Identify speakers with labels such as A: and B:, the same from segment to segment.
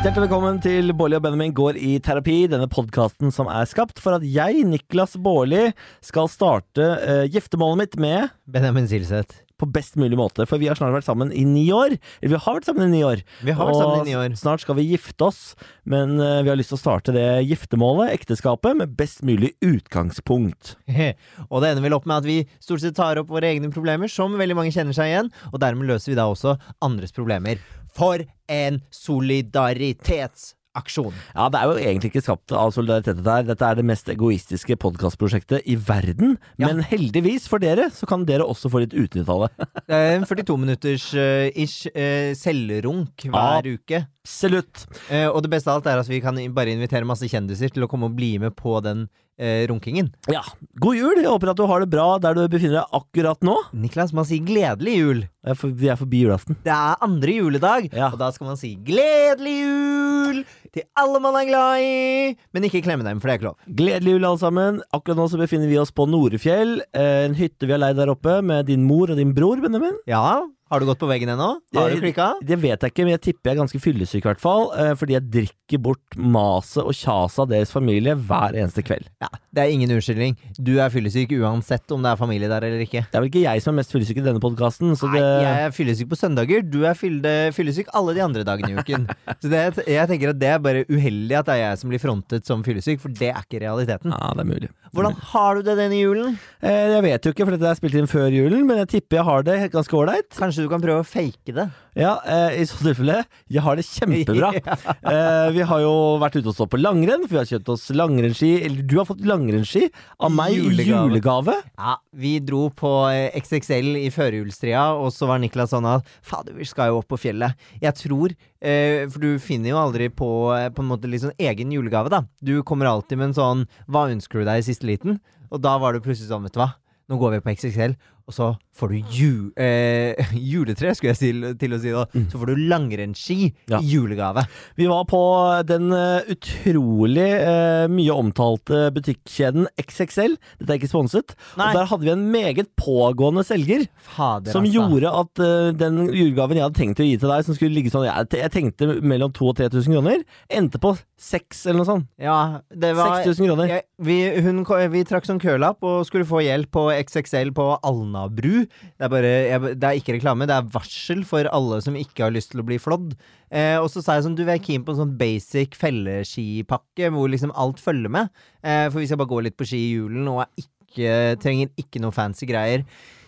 A: Hjertelig velkommen til Bårli og Benjamin går i terapi, denne podkasten som er skapt for at jeg, Niklas Bårli, skal starte eh, giftermålet mitt med
B: Benjamin Silseth.
A: på best mulig måte. For vi har snart vært sammen i ni år. Eller vi har vært sammen i ni år.
B: Vi har vært sammen i ni år.
A: Og snart skal vi gifte oss, men eh, vi har lyst til å starte det giftermålet, ekteskapet, med best mulig utgangspunkt.
B: og det ender vel opp med at vi stort sett tar opp våre egne problemer, som veldig mange kjenner seg igjen, og dermed løser vi da også andres problemer. For en solidaritetsaksjon!
A: Ja, det er jo egentlig ikke skapt av solidaritet dette her. Dette er det mest egoistiske podkastprosjektet i verden.
B: Ja.
A: Men heldigvis for dere, så kan dere også få litt utnytte av det.
B: Det er en 42 minutters eh, ish eh, selvrunk hver uke.
A: Absolutt.
B: Eh, og det beste av alt er at vi kan bare invitere masse kjendiser til å komme og bli med på den eh, runkingen.
A: Ja, god jul! Jeg håper at du har det bra der du befinner deg akkurat nå.
B: Niklas, man sier gledelig jul.
A: Jeg er for- Vi er forbi julaften.
B: Det er andre juledag,
A: Ja.
B: og da skal man si gledelig jul til alle man er glad i, men ikke klemme dem, for det er ikke lov.
A: Gledelig jul, alle sammen. Akkurat nå så befinner vi oss på Norefjell. eh, En hytte vi har leid der oppe med din mor og din bror, Benjamin.
B: Ja, har du gått på veggen ennå? Har du klikka?
A: Det vet jeg ikke, men jeg tipper jeg er ganske fyllesyk, i hvert fall. eh, Fordi jeg drikker bort maset og kjaset av deres familie hver eneste kveld.
B: Ja, det er ingen unnskyldning. Du er fyllesyk uansett om det er familie der eller ikke.
A: Det er vel ikke jeg som er mest fyllesyk i denne podkasten, så
B: Nei,
A: det
B: jeg er fyllesyk på søndager, du er fylle- fyllesyk alle de andre dagene i uken. Så det, jeg tenker at det er bare uheldig at det er jeg som blir frontet som fyllesyk, for det er ikke realiteten.
A: ja, det er mulig.
B: Hvordan har du det denne julen?
A: Eh, Jeg vet jo ikke, for dette er spilt inn før julen, men jeg tipper jeg har det ganske ålreit.
B: Kanskje du kan prøve å fake det?
A: Ja, eh, i så tilfelle. Jeg har det kjempebra. eh, vi har jo vært ute og stått på langrenn, for vi har kjøpt oss langrennsski. Eller du har fått langrennsski av meg i
B: Julegave.
A: julegave.
B: Ja, vi dro på eh, XXL i førjulstria, og så var Niklas sånn at fader, vi skal jo opp på fjellet. Jeg tror, eh, for du finner jo aldri på, eh, på en måte litt sånn egen julegave, da. Du kommer alltid med en sånn hva ønsker du deg i siste liten? Og da var du plutselig sånn, vet du hva, nå går vi på XXL, og så får du ju, eh, juletre, skulle jeg si, til å si da. Så får du langrennsski
A: Mm. Ja.
B: i julegave.
A: Vi var på den eh, utrolig eh, mye omtalte butikkjeden XXL. Dette er ikke sponset.
B: Nei.
A: Og der hadde vi en meget pågående selger.
B: Fader,
A: Som
B: altså.
A: gjorde at eh, den julegaven jeg hadde tenkt å gi til deg, som skulle ligge sånn Jeg, jeg tenkte mellom 2000 og 3000 kroner, endte på 6000 eller noe sånt.
B: Ja, det var
A: 6000 kroner.
B: Jeg, vi, hun, ko- vi trakk sånn kølapp og skulle få hjelp på XXL på Alnabru. Det er, bare, jeg, det er ikke reklame, det er varsel for alle som ikke har lyst til å bli flådd. Eh, og så sa jeg sånn, du vi er keen på en sånn basic felleskipakke hvor liksom alt følger med. Eh, for vi skal bare gå litt på ski i julen og er ikke, trenger ikke noe fancy greier.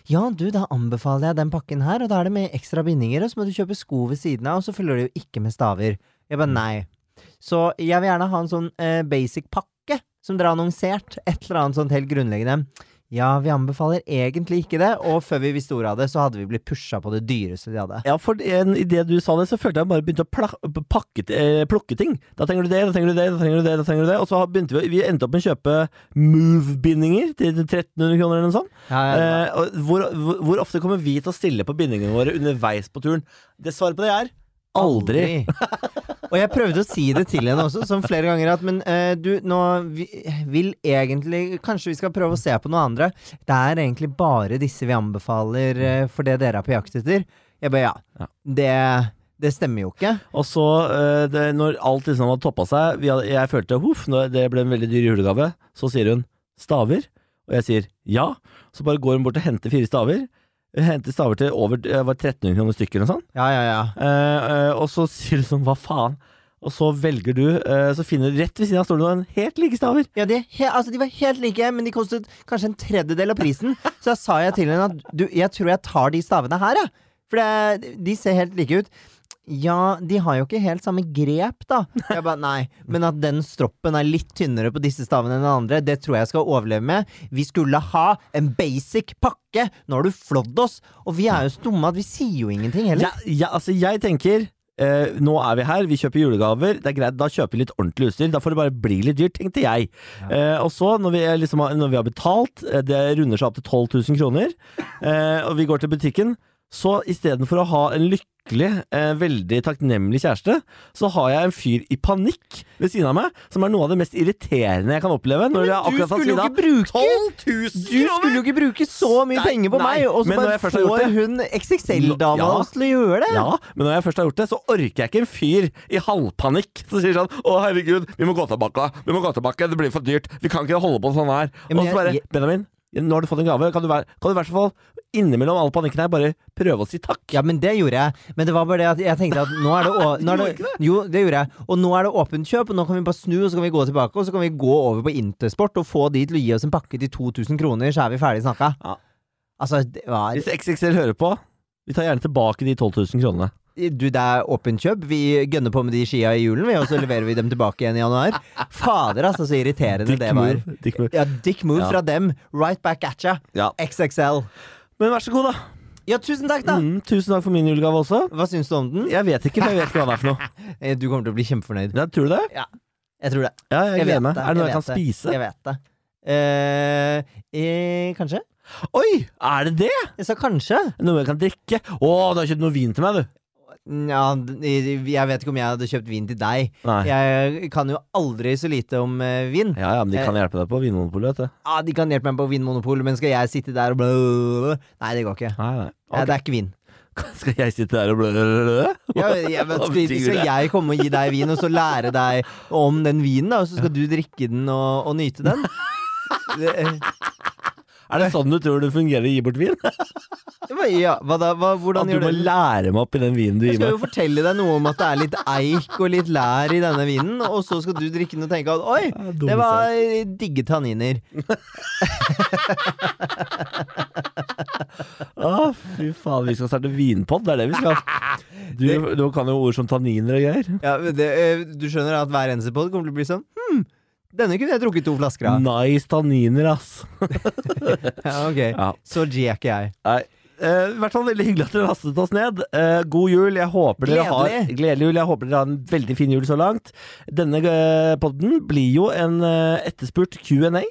B: Ja, du, da anbefaler jeg den pakken her, og da er det med ekstra bindinger, og så må du kjøpe sko ved siden av, og så følger det jo ikke med staver. Jeg bare nei. Så jeg vil gjerne ha en sånn eh, basic pakke som dere har annonsert. Et eller annet sånt helt grunnleggende. Ja, vi anbefaler egentlig ikke det, og før vi visste ordet av det, så hadde vi blitt pusha på det dyreste de hadde.
A: Ja, for en, i det du sa det, så følte jeg bare begynte å pla pakke, eh, plukke ting. Da trenger du det, da trenger du det, da trenger du det. da trenger du det Og så har- begynte vi, vi endte opp med å kjøpe Move-bindinger til 1300 kroner eller noe sånt.
B: Ja, ja,
A: Eh, og hvor, hvor, hvor ofte kommer vi til å stille på bindingene våre underveis på turen? Det svaret på det er aldri.
B: og jeg prøvde å si det til henne også, som flere ganger, at men eh, du, nå vi, vil egentlig Kanskje vi skal prøve å se på noe andre. Det er egentlig bare disse vi anbefaler eh, for det dere er på jakt etter. Jeg bare ja.
A: Ja.
B: Det, det stemmer jo ikke.
A: Og så, eh, det, når alt liksom hadde toppa seg, vi hadde, jeg følte huff, nå- det ble en veldig dyr julegave. Så sier hun staver, og jeg sier ja. Så bare går hun bort og henter fire staver. Hun Henter staver til over det var 1300 kroner stykket eller noe sånt.
B: Ja, ja, ja.
A: Eh, eh, og så sier hun sånn hva faen? Og så velger du, eh, så finner du rett ved siden av stolen en helt like staver.
B: Ja, de, er he altså, de var helt like, men de kostet kanskje en tredjedel av prisen. Så da sa jeg til henne at du, jeg tror jeg tar de stavene her, jeg. For det, de ser helt like ut. Ja, de har jo ikke helt samme grep, da. Jeg ba, nei, Men at den stroppen er litt tynnere på disse stavene enn den andre, det tror jeg skal overleve med. Vi skulle ha en basic pakke! Nå har du flådd oss! Og vi er jo så dumme at vi sier jo ingenting heller.
A: Ja, ja, altså jeg tenker eh, nå er vi her, vi kjøper julegaver. Det er greit, Da kjøper vi litt ordentlig utstyr. Da får det bare bli litt dyrt, tenkte jeg. Eh, og så, når vi, er liksom, har- når vi har betalt, eh, det runder seg opp til 12 000 kroner, eh, og vi går til butikken, så istedenfor å ha en lykke lykkelig, eh, veldig takknemlig kjæreste, så har jeg en fyr i panikk ved siden av meg, som er noe av det mest irriterende jeg kan oppleve. Når jeg
B: Du
A: akkurat har
B: skulle jo
A: sida
B: ikke bruke
A: 12 000
B: Du skulle jo ikke bruke så mye
A: Nei,
B: penger på
A: nei,
B: meg, og så
A: men når
B: bare
A: jeg først har gjort
B: får
A: det-
B: hun XXL-dama
A: Ja.
B: oss til å gjøre det!
A: Ja, men når jeg først har gjort det, så orker jeg ikke en fyr i halvpanikk som sier sånn Å, herregud, vi må gå tilbake, vi må gå tilbake, det blir for dyrt, vi kan ikke holde på sånn her.
B: Ja, men
A: Og så bare
B: jeg-
A: Benjamin, nå har du fått en gave, kan du, være, kan du i hvert fall innimellom all panikken her bare prøve å si takk?
B: Ja, men det gjorde jeg. Men det var bare det at jeg tenkte at nå er det, å, nå er
A: gjorde
B: det Jo, det gjorde jeg. Og nå er det åpent kjøp, og nå kan vi bare snu, og så kan vi gå tilbake, og så kan vi gå over på Intersport og få de til å gi oss en pakke til 2000 kroner, så er vi ferdig snakka.
A: Ja.
B: Altså, det var
A: Hvis XXL hører på, vi tar gjerne tilbake de 12 000 kronene.
B: Du, det er åpent kjøp. Vi gønner på med de skia i julen, vi, og så leverer vi dem tilbake igjen i januar. Fader, altså, så irriterende det var.
A: move, dick move.
B: Ja, dick move
A: Ja.
B: fra dem. Right back at ya.
A: Ja.
B: XXL.
A: Men vær så god, da.
B: Ja, tusen takk, da!
A: Mm, tusen takk for min julegave også.
B: Hva syns du om den?
A: Jeg vet ikke, for jeg vet ikke hva det er for noe.
B: Eh, Du kommer til å bli kjempefornøyd.
A: Ja, tror du det?
B: Jeg tror det.
A: Ja, jeg,
B: Jeg vet
A: gleder meg. Er det noe jeg,
B: vet
A: kan spise?
B: Jeg vet det. Eh, eh, kanskje?
A: Oi, er det det?
B: Jeg sa kanskje.
A: Noe jeg kan drikke? Å, du har kjøpt noe vin til meg, du.
B: Nja, d- jeg vet ikke om jeg hadde kjøpt vin til deg.
A: Nei.
B: Jeg kan jo aldri så lite om eh, vin.
A: Ja, ja, men de kan hjelpe deg på Vinmonopolet, vet du.
B: Ah, de kan hjelpe meg på Vinmonopolet, men skal jeg sitte der og bla, bla, bla, bla? Nei, det går ikke.
A: Nei, nei.
B: Eh, Det er ikke vin.
A: Skal jeg sitte der og blø?
B: Ja, jeg vet,
A: Hva
B: skal,
A: betyr
B: skal
A: det?
B: jeg komme og gi deg vin, og så lære deg om den vinen, da, og så skal du drikke den og, og nyte den? Det- eh,
A: Er det sånn du tror det fungerer å gi bort vin?
B: hva- Ja, hva da? Hva, hvordan
A: At du
B: gjør
A: må
B: det?
A: lære meg opp i den vinen du
B: Jeg
A: gir
B: skal jo
A: meg?
B: fortelle deg noe om at det er litt eik og litt lær i denne vinen, og så skal du drikke den og tenke at oi,
A: Ja, dumme
B: det var digge tanniner.
A: Å, fy faen, vi skal starte vinpod, det er det vi skal. Du, du kan jo ord som tanniner og greier.
B: Ja, men det, eh, du skjønner at hver eneste pod kommer til å bli sånn hm, denne kunne jeg drukket to flasker av.
A: Nice tanniner, ass.
B: Ja, ok.
A: Ja.
B: Så G er ikke jeg.
A: Nei. Eh, I hvert fall veldig hyggelig at dere lastet oss ned. Eh, god jul. Jeg håper dere har
B: Gledelig.
A: Gledelig jul. Jeg håper dere har en veldig fin jul så langt. Denne uh, podden blir jo en eh, etterspurt Q&A.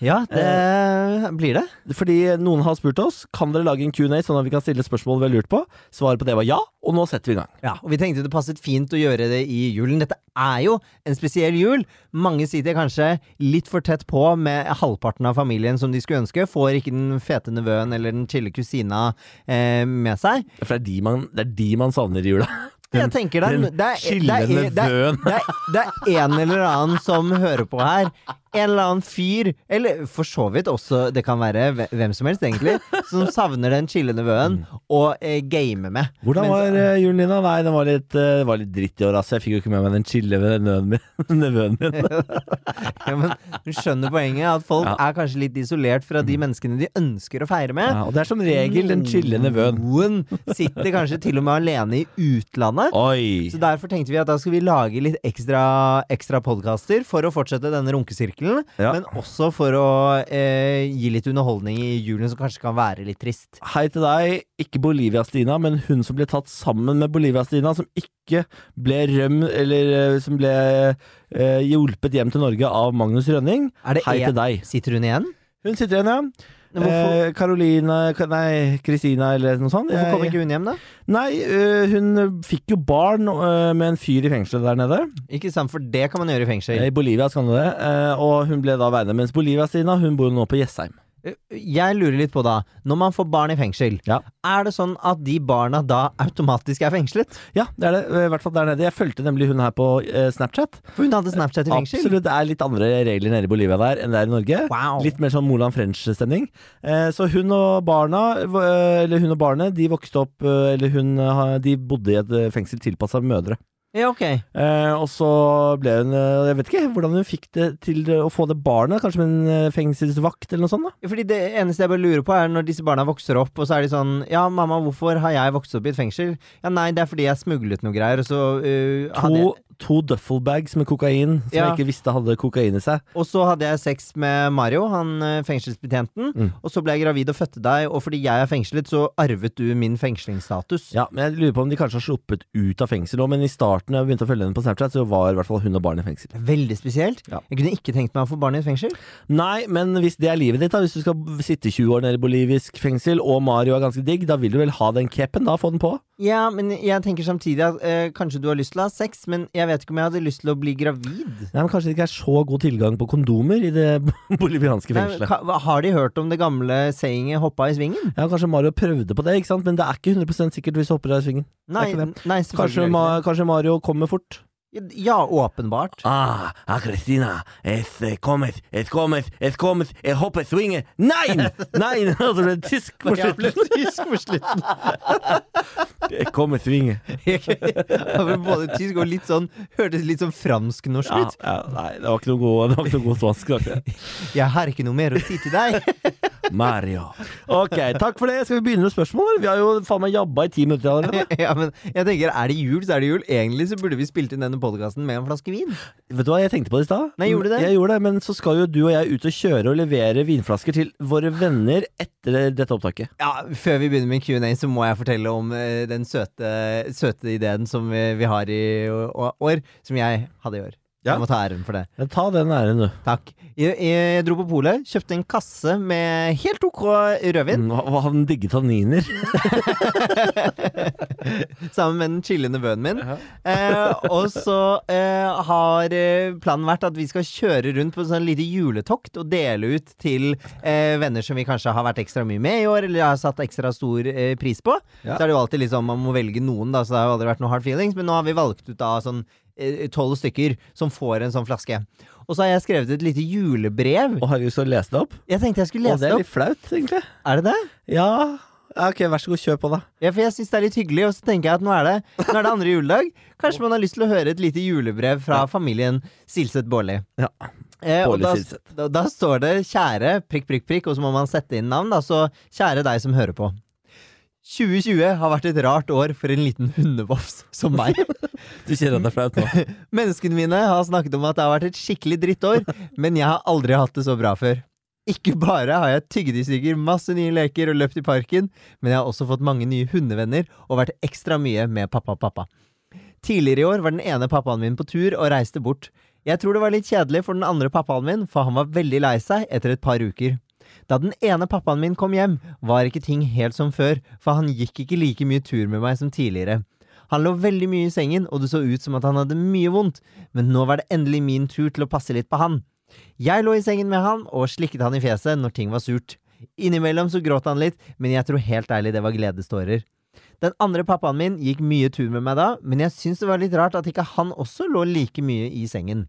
B: Ja, det blir det.
A: Fordi noen har spurt oss Kan dere lage en Q&A sånn at vi kan stille spørsmål vi har lurt på. Svaret på det var ja, og nå setter vi i gang.
B: Ja, og vi tenkte det passet fint å gjøre det i julen. Dette er jo en spesiell jul. Mange sitter kanskje litt for tett på med halvparten av familien som de skulle ønske. Får ikke den fete nevøen eller den chille kusina eh, med seg.
A: For det er de man, det er de man savner i jula.
B: Jeg tenker det er,
A: den
B: det er, det er,
A: chille
B: det er,
A: nevøen.
B: det er, det er en eller annen som hører på her. En eller annen fyr, eller for så vidt også, det kan være hve- hvem som helst egentlig, som savner den chille nevøen å eh, game med.
A: Mm. Hvordan
B: Mens-
A: var eh, julen din, da? Nei, den var litt, eh, det var litt dritt i år, ass. Jeg fikk jo ikke med meg den chille nevøen min. nevøen min.
B: Ja, men du skjønner poenget, at folk
A: Ja. Mm.
B: er kanskje litt isolert fra de menneskene de ønsker å feire med.
A: Ja, Mm. og det er som regel den chille nevøen.
B: Noen sitter kanskje til og med alene i utlandet.
A: Oi!
B: Så derfor tenkte vi at da skal vi lage litt ekstra, ekstra podkaster for å fortsette denne runkesirkelen,
A: Ja.
B: men også for å eh, gi litt underholdning i julen som kanskje kan være litt trist.
A: Hei til deg, ikke Bolivia-Stina, men hun som ble tatt sammen med Bolivia-Stina, som ikke ble røm, eller eh, som ble eh, hjulpet hjem til Norge av Magnus Rønning.
B: Er det
A: Hei
B: en-
A: til deg.
B: Sitter hun igjen?
A: Hun sitter igjen, ja.
B: Hvorfor,
A: Eh, Caroline ka- Nei, Kristina eller noe sånt.
B: hvorfor
A: Jeg-
B: kom ikke hun hjem, da?
A: Nei, eh, hun fikk jo barn eh, med en fyr i fengselet der nede.
B: Ikke sant, for det kan man gjøre i fengsel.
A: I Bolivia skal hun det. eh, og hun ble da vernet. Mens Bolivia-Stina hun bor jo nå på Jessheim.
B: Jeg lurer litt på da, når man får barn i fengsel,
A: Ja.
B: er det sånn at de barna da automatisk er fengslet?
A: Ja, det er det. eh, I hvert fall der nede. Jeg fulgte nemlig hun her på eh, Snapchat.
B: For hun hadde Snapchat i fengsel.
A: Absolutt. Det er litt andre regler nede i Bolivia der enn det er i Norge.
B: Wow.
A: Litt mer sånn Moland French-stemning. Eh, så hun og barna, eh, eller hun og barnet, de vokste opp eh, Eller hun, eh, de bodde i et eh, fengsel tilpassa mødre.
B: Ja, ok.
A: Eh, og så ble hun eh, Jeg vet ikke hvordan hun fikk det til å få det barnet. Kanskje med en eh, fengselsvakt eller noe sånt? da
B: Fordi det eneste jeg bare lurer på, er når disse barna vokser opp, og så er de sånn Ja, mamma, hvorfor har jeg vokst opp i et fengsel? Ja, nei, det er fordi jeg smuglet noe greier, og så øh, hadde
A: To,
B: jeg
A: to duffelbags med kokain som
B: Ja.
A: jeg ikke visste hadde kokain i seg.
B: Og så hadde jeg sex med Mario, han eh, fengselsbetjenten.
A: Mm.
B: Og så ble jeg gravid og fødte deg, og fordi jeg er fengslet, så arvet du min fengslingsstatus.
A: Ja, men jeg lurer på om de kanskje har sluppet ut av fengsel nå, men i starten da jeg begynte å følge henne på Snapchat, så var i hvert fall hun og barnet i fengsel.
B: Veldig spesielt.
A: Ja.
B: Jeg kunne ikke tenkt meg å få barn i et fengsel.
A: Nei, men hvis det er livet ditt, da, hvis du skal sitte 20 år nede i bolivisk fengsel, og Mario er ganske digg, da vil du vel ha den capen, da? Få den på?
B: Ja, men jeg tenker samtidig at eh, kanskje du har lyst til å ha sex, men jeg vet ikke om jeg hadde lyst til å bli gravid.
A: Nei, men Kanskje det ikke er så god tilgang på kondomer i det bolivianske
B: Nei,
A: fengselet.
B: ka- hva- har de hørt om det gamle sayinget 'hoppa i svingen'?
A: Ja, Kanskje Mario prøvde på det, ikke sant? men det er ikke 100 sikkert hvis du hopper av svingen.
B: Nei,
A: ikke det.
B: nei
A: Kanskje,
B: selvfølgelig.
A: Ma kanskje Mario kommer fort.
B: er det ikke det. Ja, åpenbart.
A: Ah, ah, Kristina, es kommer, es kommer, es kommer, jeg hopper swinger. Nein! Nein! Og så ble det tysk på
B: Jeg ble
A: slutten.
B: tysk på slutten.
A: Jeg kommer swinger.
B: Jeg ble Både tysk og litt sånn Hørtes litt sånn fransk-norsk
A: Ja,
B: ut.
A: ja, nei, det var ikke noe god, det var ikke noe god svansk. det var ikke det.
B: Jeg har ikke noe mer å si til deg.
A: Mario. Ok, takk for det. Skal vi begynne med spørsmål? eller? Vi har jo faen meg jabba i ti minutter allerede.
B: ja, men jeg tenker, er det jul, så er det jul. Egentlig så burde vi spilt inn denne podkasten med en flaske vin.
A: Vet du hva, jeg tenkte på det i stad.
B: Nei, gjorde du det?
A: Jeg gjorde det, Men så skal jo du og jeg ut og kjøre og levere vinflasker til våre venner etter dette opptaket.
B: Ja, Før vi begynner med Q&A, så må jeg fortelle om eh, den søte, søte ideen som vi, vi har i å- å- år, som jeg hadde i år.
A: Ja.
B: Jeg må ta æren for det.
A: Men Ta den æren, du.
B: Takk. Jeg, jeg dro på polet, kjøpte en kasse med helt ok rødvin,
A: Mm, Hva hadde den digge tanniner?
B: sammen med den chillende bønnen min. Eh, og så eh, har eh, planen vært at vi skal kjøre rundt på en sånn lite juletokt og dele ut til eh, venner som vi kanskje har vært ekstra mye med i år, eller har satt ekstra stor eh, pris på.
A: Ja.
B: Så er det jo alltid liksom man må velge noen, da, så det har jo aldri vært noe hard feelings, men nå har vi valgt ut da sånn tolv stykker som får en sånn flaske. Og så har jeg skrevet et lite julebrev.
A: Og har du lyst til å lese det opp?
B: Jeg tenkte jeg skulle
A: Og
B: lese
A: det
B: det
A: er
B: opp.
A: litt flaut, egentlig.
B: Er det det?
A: Ja. ja, ok, vær så god, kjør på, da.
B: Ja, for jeg syns det er litt hyggelig, og så tenker jeg at nå er det, nå er det andre juledag. Kanskje man har lyst til å høre et lite julebrev fra familien Silseth Baarli.
A: Ja.
B: Eh, og
A: Baarli
B: da,
A: Silseth.
B: da, da står det 'kjære prikk, prikk, prikk', og så må man sette inn navn. Da. Så kjære deg som hører på. 2020 har vært et rart år for en liten hundevofs som meg.
A: Du kjenner at det er flaut nå?
B: Menneskene mine har snakket om at det har vært et skikkelig drittår, men jeg har aldri hatt det så bra før. Ikke bare har jeg tygd i stykker masse nye leker og løpt i parken, men jeg har også fått mange nye hundevenner og vært ekstra mye med pappa og pappa. Tidligere i år var den ene pappaen min på tur og reiste bort. Jeg tror det var litt kjedelig for den andre pappaen min, for han var veldig lei seg etter et par uker. Da den ene pappaen min kom hjem, var ikke ting helt som før, for han gikk ikke like mye tur med meg som tidligere. Han lå veldig mye i sengen, og det så ut som at han hadde mye vondt, men nå var det endelig min tur til å passe litt på han. Jeg lå i sengen med han og slikket han i fjeset når ting var surt. Innimellom så gråt han litt, men jeg tror helt ærlig det var gledestårer. Den andre pappaen min gikk mye tur med meg da, men jeg syns det var litt rart at ikke han også lå like mye i sengen.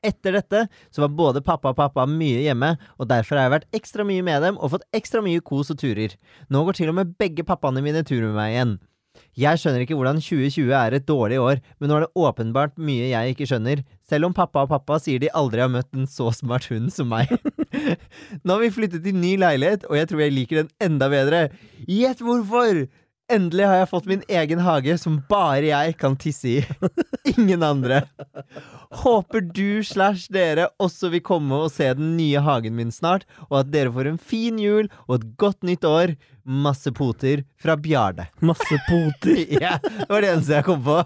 B: Etter dette så var både pappa og pappa mye hjemme, og derfor har jeg vært ekstra mye med dem og fått ekstra mye kos og turer. Nå går til og med begge pappaene mine tur med meg igjen. Jeg skjønner ikke hvordan 2020 er et dårlig år, men nå er det åpenbart mye jeg ikke skjønner, selv om pappa og pappa sier de aldri har møtt en så smart hund som meg. nå har vi flyttet til ny leilighet, og jeg tror jeg liker den enda bedre. Gjett hvorfor! Endelig har jeg fått min egen hage som bare jeg kan tisse i. Ingen andre. Håper du slash dere også vil komme og se den nye hagen min snart, og at dere får en fin jul og et godt nytt år. Masse poter fra Bjarne.
A: Masse poter.
B: Ja, det var det eneste jeg kom på.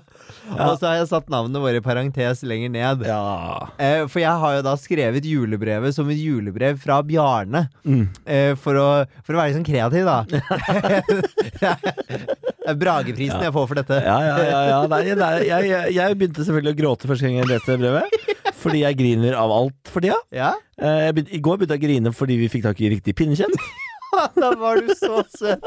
B: Og så har jeg satt navnene våre i parentes lenger ned.
A: Ja.
B: Eh, for jeg har jo da skrevet julebrevet som et julebrev fra Bjarne.
A: Mm.
B: Eh, for, å, for å være litt sånn kreativ, da. det er Brageprisen jeg får for dette.
A: Ja, ja, ja. ja. Nei, nei, jeg, jeg, jeg begynte selvfølgelig å gråte første gang jeg leste brevet. Fordi jeg griner av alt for tida.
B: Ja?
A: Eh, jeg begyn- I går begynte jeg å grine fordi vi fikk tak i riktig pinnekjøtt.
B: Da var du så søt.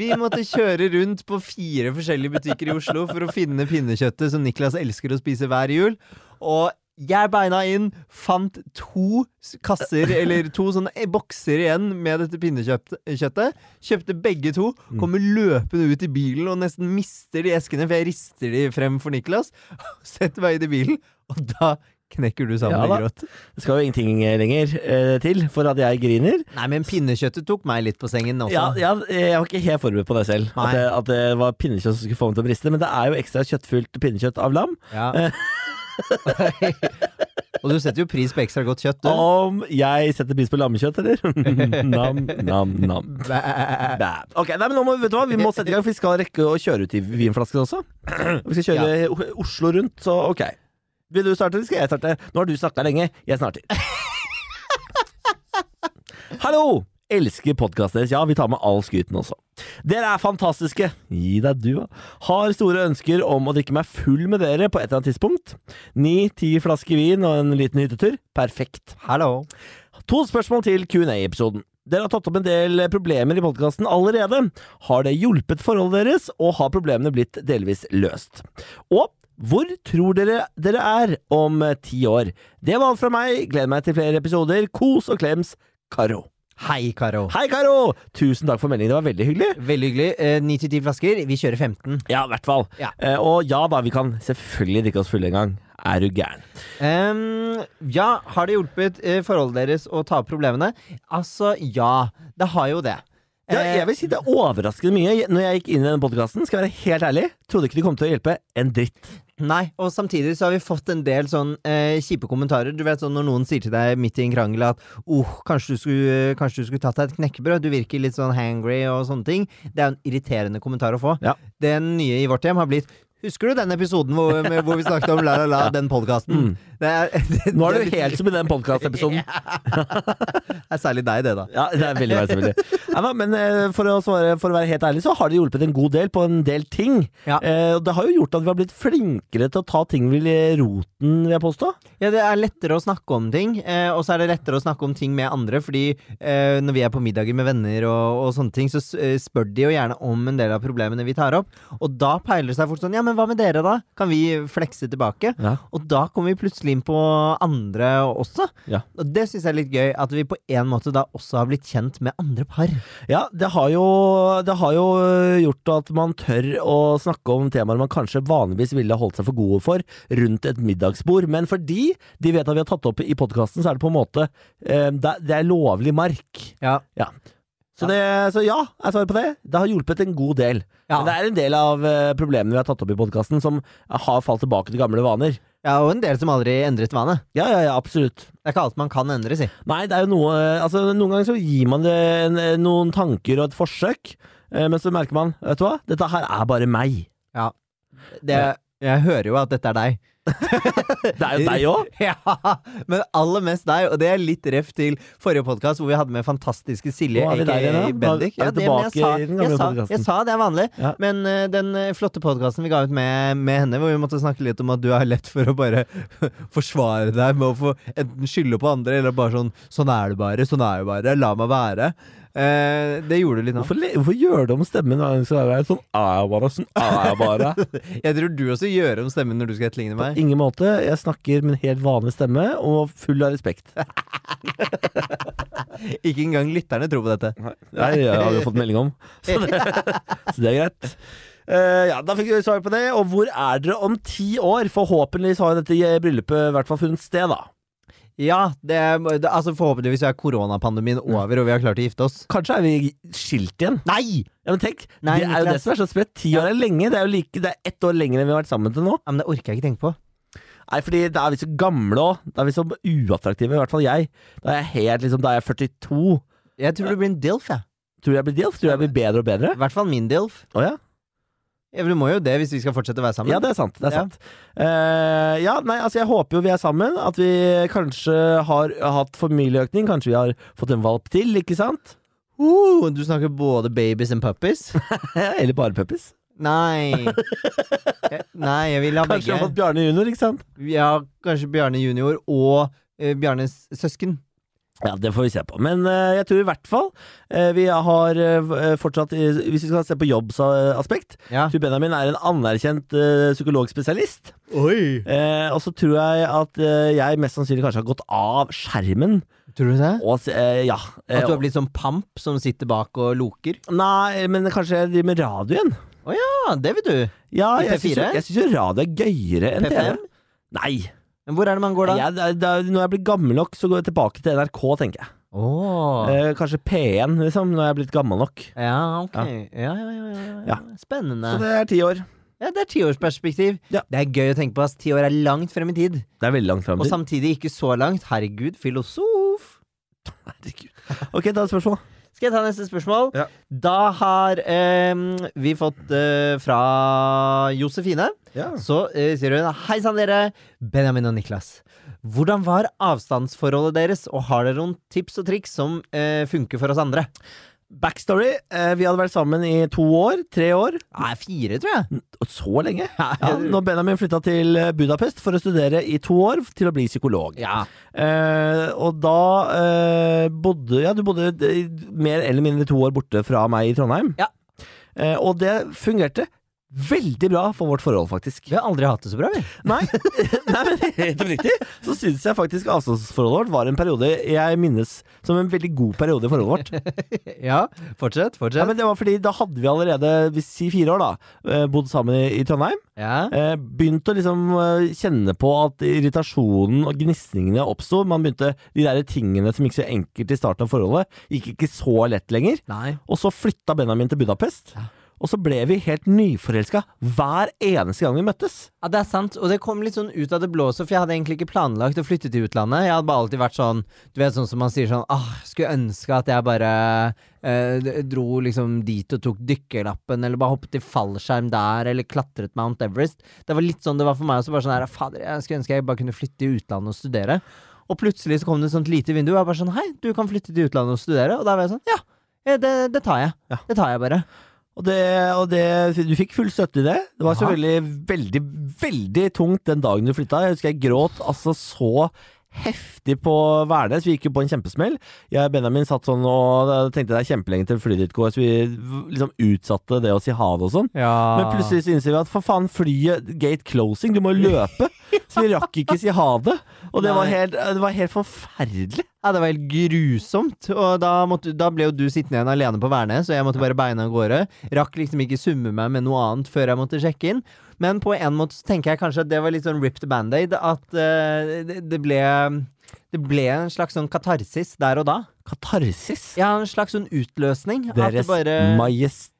B: Vi måtte kjøre rundt på fire forskjellige butikker i Oslo for å finne pinnekjøttet som Niklas elsker å spise hver jul. Og jeg beina inn, fant to s- kasser, eller to sånne eh, bokser igjen med dette pinnekjøttet. Kjøpte begge to, kommer løpende ut i bilen og nesten mister de eskene, for jeg rister de frem for Niklas. Setter meg inn i bilen, og da knekker du sammen
A: Ja
B: i
A: da.
B: gråt.
A: Det skal jo ingenting eh, lenger eh, til for at jeg griner.
B: Nei, men pinnekjøttet tok meg litt på sengen også.
A: Ja, ja, jeg var ikke helt forberedt på det selv.
B: Altså.
A: At det,
B: Nei.
A: at det var pinnekjøtt som skulle få meg til å briste. Men det er jo ekstra kjøttfullt pinnekjøtt av lam.
B: Ja. og du setter jo pris på ekstra godt kjøtt, du.
A: Om jeg setter pris på lammekjøtt, eller? nam, nam, nam.
B: Bæ.
A: Bæ. Ok, nei, men nå må, vet du hva? Vi må sette i gang, for vi skal rekke å kjøre ut i vinflasken også. Vi skal kjøre O- Oslo rundt, så ok. Vil du starte, eller skal jeg starte? Nå har du snakka lenge, jeg starter. Hallo! Elsker podkasten deres. Ja, vi tar med all skryten også. Dere er fantastiske! Gi deg, du, da. Har store ønsker om å drikke meg full med dere på et eller annet tidspunkt. Ni-ti flasker vin og en liten hyttetur. Perfekt.
B: Hallo.
A: To spørsmål til Q&A-episoden. Dere har tatt opp en del problemer i podkasten allerede. Har det hjulpet forholdet deres, og har problemene blitt delvis løst? Og hvor tror dere dere er om eh, ti år? Det var alt fra meg. Gleder meg til flere episoder. Kos og klems, Karo.
B: Hei, Karo.
A: Hei, Karo! Tusen takk for meldingen. Det var veldig hyggelig.
B: Veldig hyggelig. Eh, 9-10 flasker. Vi kjører 15.
A: Ja, i hvert fall.
B: Ja.
A: Eh, og ja da, vi kan selvfølgelig drikke oss fulle en gang. Er du gæren?
B: Ehm, ja, har det hjulpet eh, forholdet deres å ta opp problemene? Altså, ja. Det har jo det.
A: Ja,
B: Eh,
A: jeg vil si det er overraskende mye. Når jeg gikk inn i denne podkasten, skal jeg være helt ærlig, trodde ikke det kom til å hjelpe en dritt.
B: Nei, og samtidig så har vi fått en del sånn eh, kjipe kommentarer. Du vet sånn når noen sier til deg midt i en krangel at oh, kanskje du skulle, kanskje du skulle tatt deg et knekkebrød, du virker litt sånn hangry og sånne ting. Det er jo en irriterende kommentar å få.
A: Ja.
B: Den nye i vårt hjem har blitt Husker du den episoden hvor, med, hvor vi snakket om la la la, den podkasten? Det, er- det,
A: Mm. Nå er
B: det
A: du helt som i den podkastepisoden.
B: er særlig deg, det, da.
A: Ja, det er veldig meg, selvfølgelig. Nei, da, men eh, for å, svare, for å være helt ærlig, så har det hjulpet en god del på en del ting.
B: Ja.
A: Eh, og det har jo gjort at vi har blitt flinkere til å ta ting ved roten, vil jeg påstå.
B: Ja, det er lettere å snakke om ting, eh, og så er det lettere å snakke om ting med andre, fordi eh, når vi er på middager med venner og, og sånne ting, så s- eh, spør de jo gjerne om en del av problemene vi tar opp, og da peiler det seg fort sånn, ja, men hva med dere da? Kan vi flekse tilbake?
A: Ja.
B: Og da kommer vi plutselig inn på andre også,
A: Ja.
B: og det synes jeg er litt gøy, at vi på en måte da også har blitt kjent med andre par.
A: Ja, det har, jo, det har jo eh, gjort at man tør å snakke om temaer man kanskje vanligvis ville holdt seg for gode for rundt et middagsbord. Men fordi de vet at vi har tatt opp i podkasten, så er det på en måte eh, det, det er lovlig mark.
B: Ja.
A: Ja. Så, det, så ja, jeg svarer på det. Det har hjulpet en god del.
B: Ja.
A: Men det er en del av eh, problemene vi har tatt opp i podkasten, som har falt tilbake til gamle vaner.
B: ja, og en del som aldri endret vane.
A: Ja, ja, ja, absolutt.
B: Det er ikke alt man kan endre, si.
A: Nei, det er jo noe Altså, noen ganger så gir man det en, eh, noen tanker og et forsøk, eh, men så merker man, vet du hva, dette her er bare meg.
B: Det, jeg hører jo at dette er deg.
A: Det er jo deg òg.
B: Ja, men aller mest deg, og det er litt ref til forrige podkast hvor vi hadde med fantastiske Silje,
A: Nå er vi der
B: aka
A: igjen, da.
B: Bendik.
A: Er vi
B: Ja, det- men jeg
A: tilbake
B: sa-
A: i den gamle
B: jeg sa-
A: podcasten?
B: Jeg sa det er vanlig,
A: Ja.
B: men eh, den eh, flotte podkasten vi ga ut med, med henne, hvor vi måtte snakke litt om at du har lett for å bare forsvare deg med å få enten skylde på andre, eller bare sånn 'sånn er det bare', 'sånn er det bare', 'la meg være'. Eh, det gjorde du litt nå.
A: Hvorfor, le- hvorfor gjør du om stemmen hver gang så er det sånn er jeg bare, sånn er jeg bare.
B: Jeg tror du også gjør om stemmen når du skal etterligne
A: På
B: meg.
A: ingen måte. Jeg snakker med en helt vanlig stemme og full av respekt.
B: Ikke engang lytterne tror på dette.
A: Nei, det har vi jo fått melding om, så Sånn det, så det er greit. Eh, ja, Da fikk vi svar på det. Og hvor er dere om ti år? Forhåpentligvis har jo dette bryllupet i hvert fall funnet sted, da.
B: Ja, det, det, altså forhåpentligvis er koronapandemien over, og vi har klart å gifte oss.
A: Kanskje er vi skilt igjen?
B: Nei!
A: Ja, men tenk,
B: Nei,
A: Det er jo
B: Niklas.
A: det som er så sprøtt. Ti år er lenge. Det er jo like, det er ett år lenger enn vi har vært sammen til nå.
B: Ja, men det orker jeg ikke tenke på.
A: Nei, fordi da er vi så gamle òg. Da er vi så uattraktive, i hvert fall jeg. Da er jeg helt liksom, da er jeg 42.
B: Jeg tror det blir en dilf, jeg.
A: Tror du jeg blir DILF? Tror du jeg blir bedre og bedre?
B: I hvert fall min E dilf.
A: Å ja.
B: Ja, Du må jo det hvis vi skal fortsette å være sammen.
A: Ja, det er sant. Det er
B: Ja.
A: sant. Eh, ja, nei, altså jeg håper jo vi er sammen. At vi kanskje har hatt familieøkning. Kanskje vi har fått en valp til, ikke sant?
B: Uh, du snakker både babies and puppies?
A: Eller bare puppies.
B: Nei. Jeg- Eh, Nei, jeg vil ha
A: Kanskje vi har fått
B: begge.
A: Bjarne junior, ikke sant?
B: Ja, kanskje Bjarne junior og eh, Bjarnes søsken.
A: Ja, det får vi se på. Men eh, jeg tror i hvert fall eh, vi har eh, v- eh, fortsatt eh, Hvis vi skal se på jobbsaspekt
B: Ja.
A: Tror Benjamin er en anerkjent eh, psykologspesialist.
B: Oi!
A: Eh, og så tror jeg at eh, jeg mest sannsynlig kanskje har gått av skjermen.
B: Tror du det?
A: Og, s- eh, ja. eh,
B: At du har blitt sånn pamp som sitter bak og loker?
A: Nei, men kanskje jeg driver med radio igjen.
B: Ja, det vil du.
A: Ja,
B: I
A: jeg syns jo
B: P4?
A: jeg syns jo radio er gøyere enn TV.
B: P5?
A: Nei.
B: Men hvor er det man går da?
A: Jeg, det er- det er- når jeg blir gammel nok, så går jeg tilbake til NRK, tenker jeg.
B: Åh.
A: Eh, kanskje P1, liksom, når jeg er blitt gammel nok.
B: Ja, ok. Ja, ja, ja. ja, ja, ja.
A: Ja. Så
B: Spennende.
A: det er ti år.
B: Ja, det er tiårsperspektiv.
A: Ja.
B: Det er gøy å tenke på. ass. Ti år er langt frem i tid.
A: Det er veldig langt fram
B: Og
A: til.
B: samtidig ikke så langt. Herregud, filosof.
A: Herregud. Ok, da er det spørsmål.
B: Skal jeg ta neste spørsmål?
A: Ja.
B: Da har eh, vi fått eh, fra Josefine. Så eh, sier hun Hei sann, dere. Benjamin og Niklas. Hvordan var avstandsforholdet deres, og har dere noen tips og triks som eh, funker for oss andre?
A: Backstory. Eh, vi hadde vært sammen i to år, tre år.
B: Nei, fire, tror jeg.
A: Og Så lenge? Ja, når Benjamin flytta til eh, Budapest for å studere i to år til å bli psykolog.
B: Ja.
A: Eh, og da eh, bodde Ja, du bodde eh, mer eller mindre to år borte fra meg i Trondheim.
B: Ja.
A: Eh, og det fungerte veldig bra for vårt forhold, faktisk.
B: Vi har aldri hatt det så bra, vi.
A: Nei, nei men helt oppriktig så syns jeg faktisk avstandsforholdet vårt var en periode jeg minnes som en veldig god periode i forholdet vårt.
B: Ja, fortsett, fortsett.
A: Ja, men det var fordi da hadde vi allerede, vi sier fire år, da, eh, bodd sammen i, i Trondheim.
B: Ja.
A: Eh, Begynte å liksom eh, kjenne på at irritasjonen og gnisningene oppsto. Man begynte De der tingene som gikk så enkelt i starten av forholdet, gikk ikke så lett lenger.
B: Nei.
A: Og så flytta Benjamin til Budapest.
B: Ja.
A: Og så ble vi helt nyforelska hver eneste gang vi møttes.
B: Ja, det er sant, og det kom litt sånn ut av det blå også, for jeg hadde egentlig ikke planlagt å flytte til utlandet. Jeg hadde bare alltid vært sånn, du vet sånn som man sier sånn, ah, skulle ønske at jeg bare eh, d- dro liksom dit og tok dykkerlappen, eller bare hoppet i fallskjerm der, eller klatret Mount Everest. Det var litt sånn det var for meg også, bare sånn her, fader, jeg skulle ønske jeg bare kunne flytte i utlandet og studere. Og plutselig så kom det et sånt lite vindu, og jeg bare sånn, hei, du kan flytte til utlandet og studere, og da var jeg sånn, ja, eh, det, det tar jeg.
A: Ja.
B: Det tar jeg bare.
A: Og, det, og det, du fikk full støtte i det. Det var så
B: Jaha.
A: veldig, veldig, veldig tungt den dagen du flytta. Jeg husker jeg gråt altså så heftig på Værnes. Vi gikk jo på en kjempesmell. Jeg og Benjamin satt sånn og tenkte det er kjempelenge til flyet ditt går, så vi liksom utsatte det å si ha det og sånn.
B: Ja.
A: Men plutselig så innser vi at for faen, flyet gate closing, du må jo løpe! Så vi rakk ikke si ha det. Og det var
B: Nei.
A: helt, det var helt forferdelig.
B: Ja, det var helt grusomt, og da, måtte, da ble jo du sittende igjen alene på Værnes, og jeg måtte bare beina av gårde. Rakk liksom ikke summe meg med noe annet før jeg måtte sjekke inn. Men på en måte så tenker jeg kanskje at det var litt sånn ripped band-aid, at eh, det, det ble det ble en slags sånn katarsis der og da.
A: Katarsis.
B: Ja, en slags sånn utløsning. at det
A: Deres
B: bare...
A: Majestet.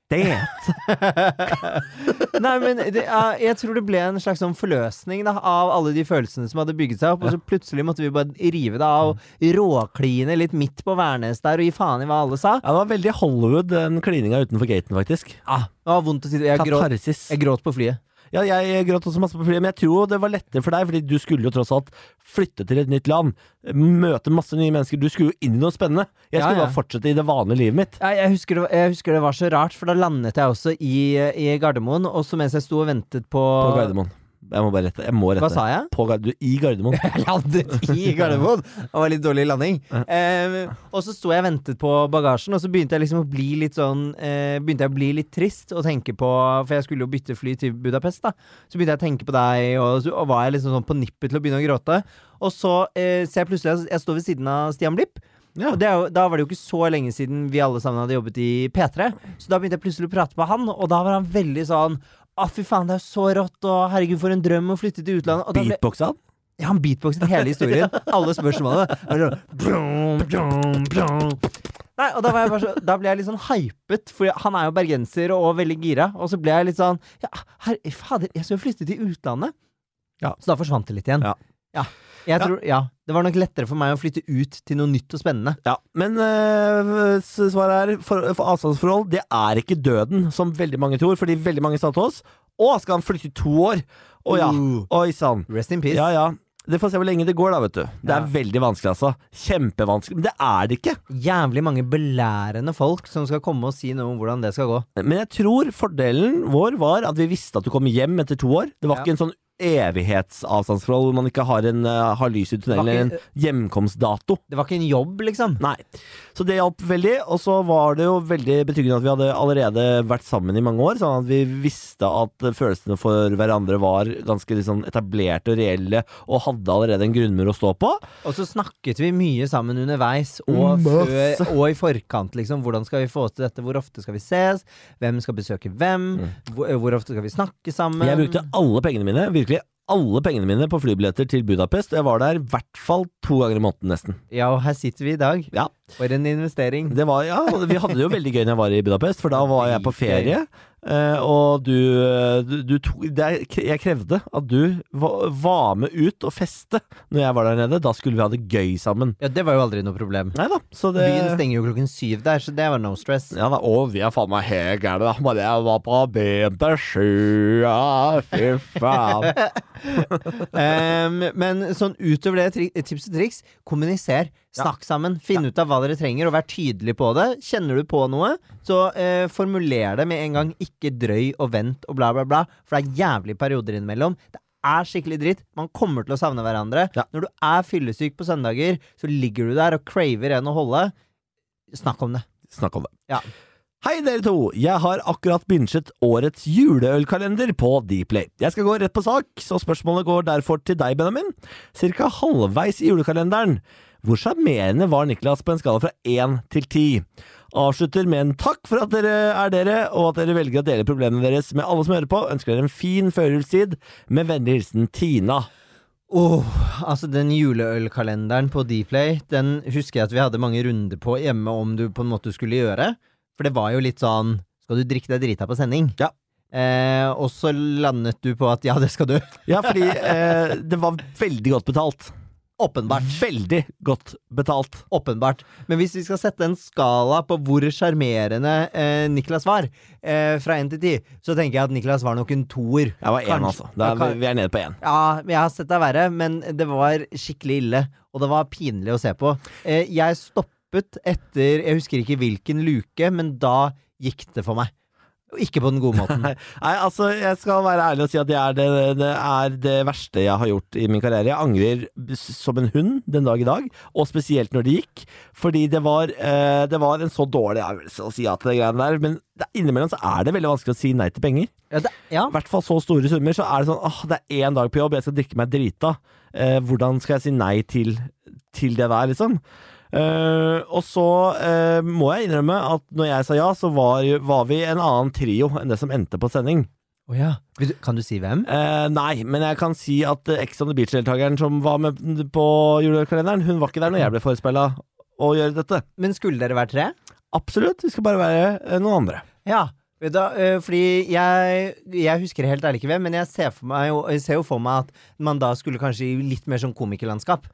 B: Nei, men det, ja, jeg tror det ble en slags sånn forløsning da, av alle de følelsene som hadde bygget seg opp, og så plutselig måtte vi bare rive det av og råkline litt midt på Værnes der og gi faen i hva alle sa.
A: Ja, det var veldig Hollywood, den klininga utenfor gaten, faktisk.
B: Ah, det var vondt å si det. Jeg gråt,
A: Katarsis.
B: jeg gråt på flyet.
A: Ja, jeg gråt også masse på flyet, men jeg tror jo det var lettere for deg, fordi du skulle jo tross alt flytte til et nytt land, møte masse nye mennesker, du skulle jo inn i noe spennende. Jeg
B: Ja,
A: skulle
B: ja.
A: bare fortsette i det vanlige livet mitt.
B: Jeg, jeg, husker det, jeg husker det var så rart, for da landet jeg også i, i Gardermoen. Og så mens jeg sto og ventet på,
A: På Gardermoen. Jeg må bare rette. Jeg må rette.
B: Hva sa jeg?
A: På Gar- du, I Gardermoen.
B: Jeg landet i Gardermoen! Det var litt dårlig landing. Eh, og så sto jeg og ventet på bagasjen, og så begynte jeg liksom å bli litt sånn eh, Begynte jeg å bli litt trist og tenke på For jeg skulle jo bytte fly til Budapest, da. Så begynte jeg å tenke på deg, og, så- og var jeg liksom sånn på nippet til å begynne å gråte. Og så eh, ser jeg plutselig at jeg står ved siden av Stian Blipp.
A: Ja.
B: Og det er jo, da var det jo ikke så lenge siden vi alle sammen hadde jobbet i P3, så da begynte jeg plutselig å prate med han, og da var han veldig sånn Å, fy faen, det er jo så rått, og herregud, for en drøm å flytte til utlandet. Og da ble,
A: Beatboxa han?
B: ja, han beatboxet hele historien. Alle spørsmålene. Han var sånn, brum, brum, brum. Nei, og da, var jeg bare så, da ble jeg litt sånn hypet, for han er jo bergenser og veldig gira. Og så ble jeg litt sånn Ja, her, fader, jeg skal jo flytte til utlandet.
A: Ja.
B: Så da forsvant det litt igjen.
A: Ja.
B: Ja. Jeg tror, ja. Det var nok lettere for meg å flytte ut til noe nytt og spennende.
A: Ja. Men eh, s- svaret er for, for avstandsforhold, det er ikke døden, som veldig mange tror, fordi veldig mange sa til oss Å, skal han flytte i to år? Å ja.
B: Uh.
A: Oi sann.
B: Rest in peace.
A: Ja, ja. Det får se hvor lenge det går, da, vet du. Det er
B: Ja.
A: veldig vanskelig, altså. Kjempevanskelig. Men det er det ikke.
B: Jævlig mange belærende folk som skal komme og si noe om hvordan det skal gå.
A: Men jeg tror fordelen vår var at vi visste at du kom hjem etter to år. Det var
B: Ja.
A: ikke en sånn evighetsavstandsforhold hvor man ikke har, en, eh, har lys i tunnelen
B: Det var
A: eller
B: ikke-
A: en hjemkomstdato.
B: Det var ikke en jobb, liksom.
A: Nei. Så det hjalp veldig. Og så var det jo veldig betryggende at vi hadde allerede vært sammen i mange år, sånn at vi visste at følelsene for hverandre var ganske liksom etablerte og reelle, og hadde allerede en grunnmur å stå på.
B: Og så snakket vi mye sammen underveis og,
A: Mm, Masse.
B: før, og i forkant. liksom Hvordan skal vi få til dette? Hvor ofte skal vi ses? Hvem skal besøke hvem? eh, Hvor, hvor ofte skal vi snakke sammen?
A: Jeg Mm. brukte alle pengene mine, virkelig alle pengene mine på flybilletter til Budapest. og Jeg var der i hvert fall to ganger i måneden, nesten.
B: Ja, og her sitter vi i dag.
A: Ja.
B: For en investering.
A: Det var, ja, og vi hadde det jo veldig gøy når jeg var i Budapest, for da var jeg på ferie. eh, Og du, eh, du, du tok det er- Jeg krevde at du va- var med ut og feste når jeg var der nede. Da skulle vi ha det gøy sammen.
B: Ja, det var jo aldri noe problem.
A: Nei da, så det
B: Byen stenger jo klokken syv der, så det var no stress.
A: ja da, og vi er faen meg helt gærne, da. Bare jeg var på BB7, ja, fy faen.
B: Ehm, men sånn utover det, tri- tips og triks, kommuniser. Snakk sammen. Finn ut av hva dere trenger, og vær tydelig på det. Kjenner du på noe, så eh, formuler det med en gang. Ikke drøy og vent og bla, bla, bla. For det er jævlig perioder innimellom. Det er skikkelig dritt. Man kommer til å savne hverandre.
A: Ja.
B: Når du er fyllesyk på søndager, så ligger du der og craver en å holde. Snakk om det.
A: Snakk om det.
B: Ja.
A: Hei dere to! Jeg har akkurat binget årets juleølkalender på Dplay. Jeg skal gå rett på sak, så spørsmålet går derfor til deg, Benjamin. Cirka halvveis i julekalenderen. Hvor sjarmerende var Niklas på en skala fra én til ti? Avslutter med en takk for at dere er dere, og at dere velger å dele problemene deres med alle som hører på. Ønsker dere en fin førjulstid. Med vennlig hilsen Tina.
B: Åh, altså den juleølkalenderen på Dplay, den husker jeg at vi hadde mange runder på hjemme om du på en måte skulle gjøre. For det var jo litt sånn Skal du drikke deg drita på sending?
A: Ja.
B: Eh, og så landet du på at ja, det skal du.
A: Ja, fordi eh, det var veldig godt betalt.
B: Åpenbart.
A: Veldig godt betalt.
B: Åpenbart. Men hvis vi skal sette en skala på hvor sjarmerende eh, Niklas var, eh, fra én til ti, så tenker jeg at Niklas var nok en toer.
A: Jeg var én,
B: Kanskje-
A: altså. Da,
B: Ja, kan-
A: er vi- vi er nede på én.
B: Ja, men jeg har sett deg verre, men det var skikkelig ille. Og det var pinlig å se på. Eh, Jeg stoppet etter Jeg husker ikke hvilken luke, men da gikk det for meg. Og Ikke på den gode måten.
A: Nei, altså, jeg skal være ærlig og si at det er det, det er det verste jeg har gjort i min karriere. Jeg angrer s- som en hund den dag i dag, og spesielt når det gikk. Fordi det var, eh, det var en så dårlig avgjørelse å si ja til de greiene der. Men det, innimellom så er det veldig vanskelig å si nei til penger.
B: Ja, det, ja.
A: I hvert fall så store summer. Så er det sånn åh, det er én dag på jobb, jeg skal drikke meg drita. Eh, hvordan skal jeg si nei til, til det der, liksom? Eh, og så eh, må jeg innrømme at når jeg sa ja, så var, jo- var vi en annen trio enn det som endte på sending.
B: Å ja. Vil du- Kan du si hvem?
A: Eh, nei, men jeg kan si at eh, Ex on the Beach-deltakeren som var med på julekalenderen, hun var ikke der når jeg ble forespeila å gjøre dette.
B: Men skulle dere være tre?
A: Absolutt, vi skal bare være eh, noen andre.
B: Ja. Vet du, eh, fordi jeg, jeg husker helt ærlig ikke hvem, men jeg ser, for meg, jo- jeg ser jo for meg at man da skulle kanskje i litt mer sånn komikerlandskap.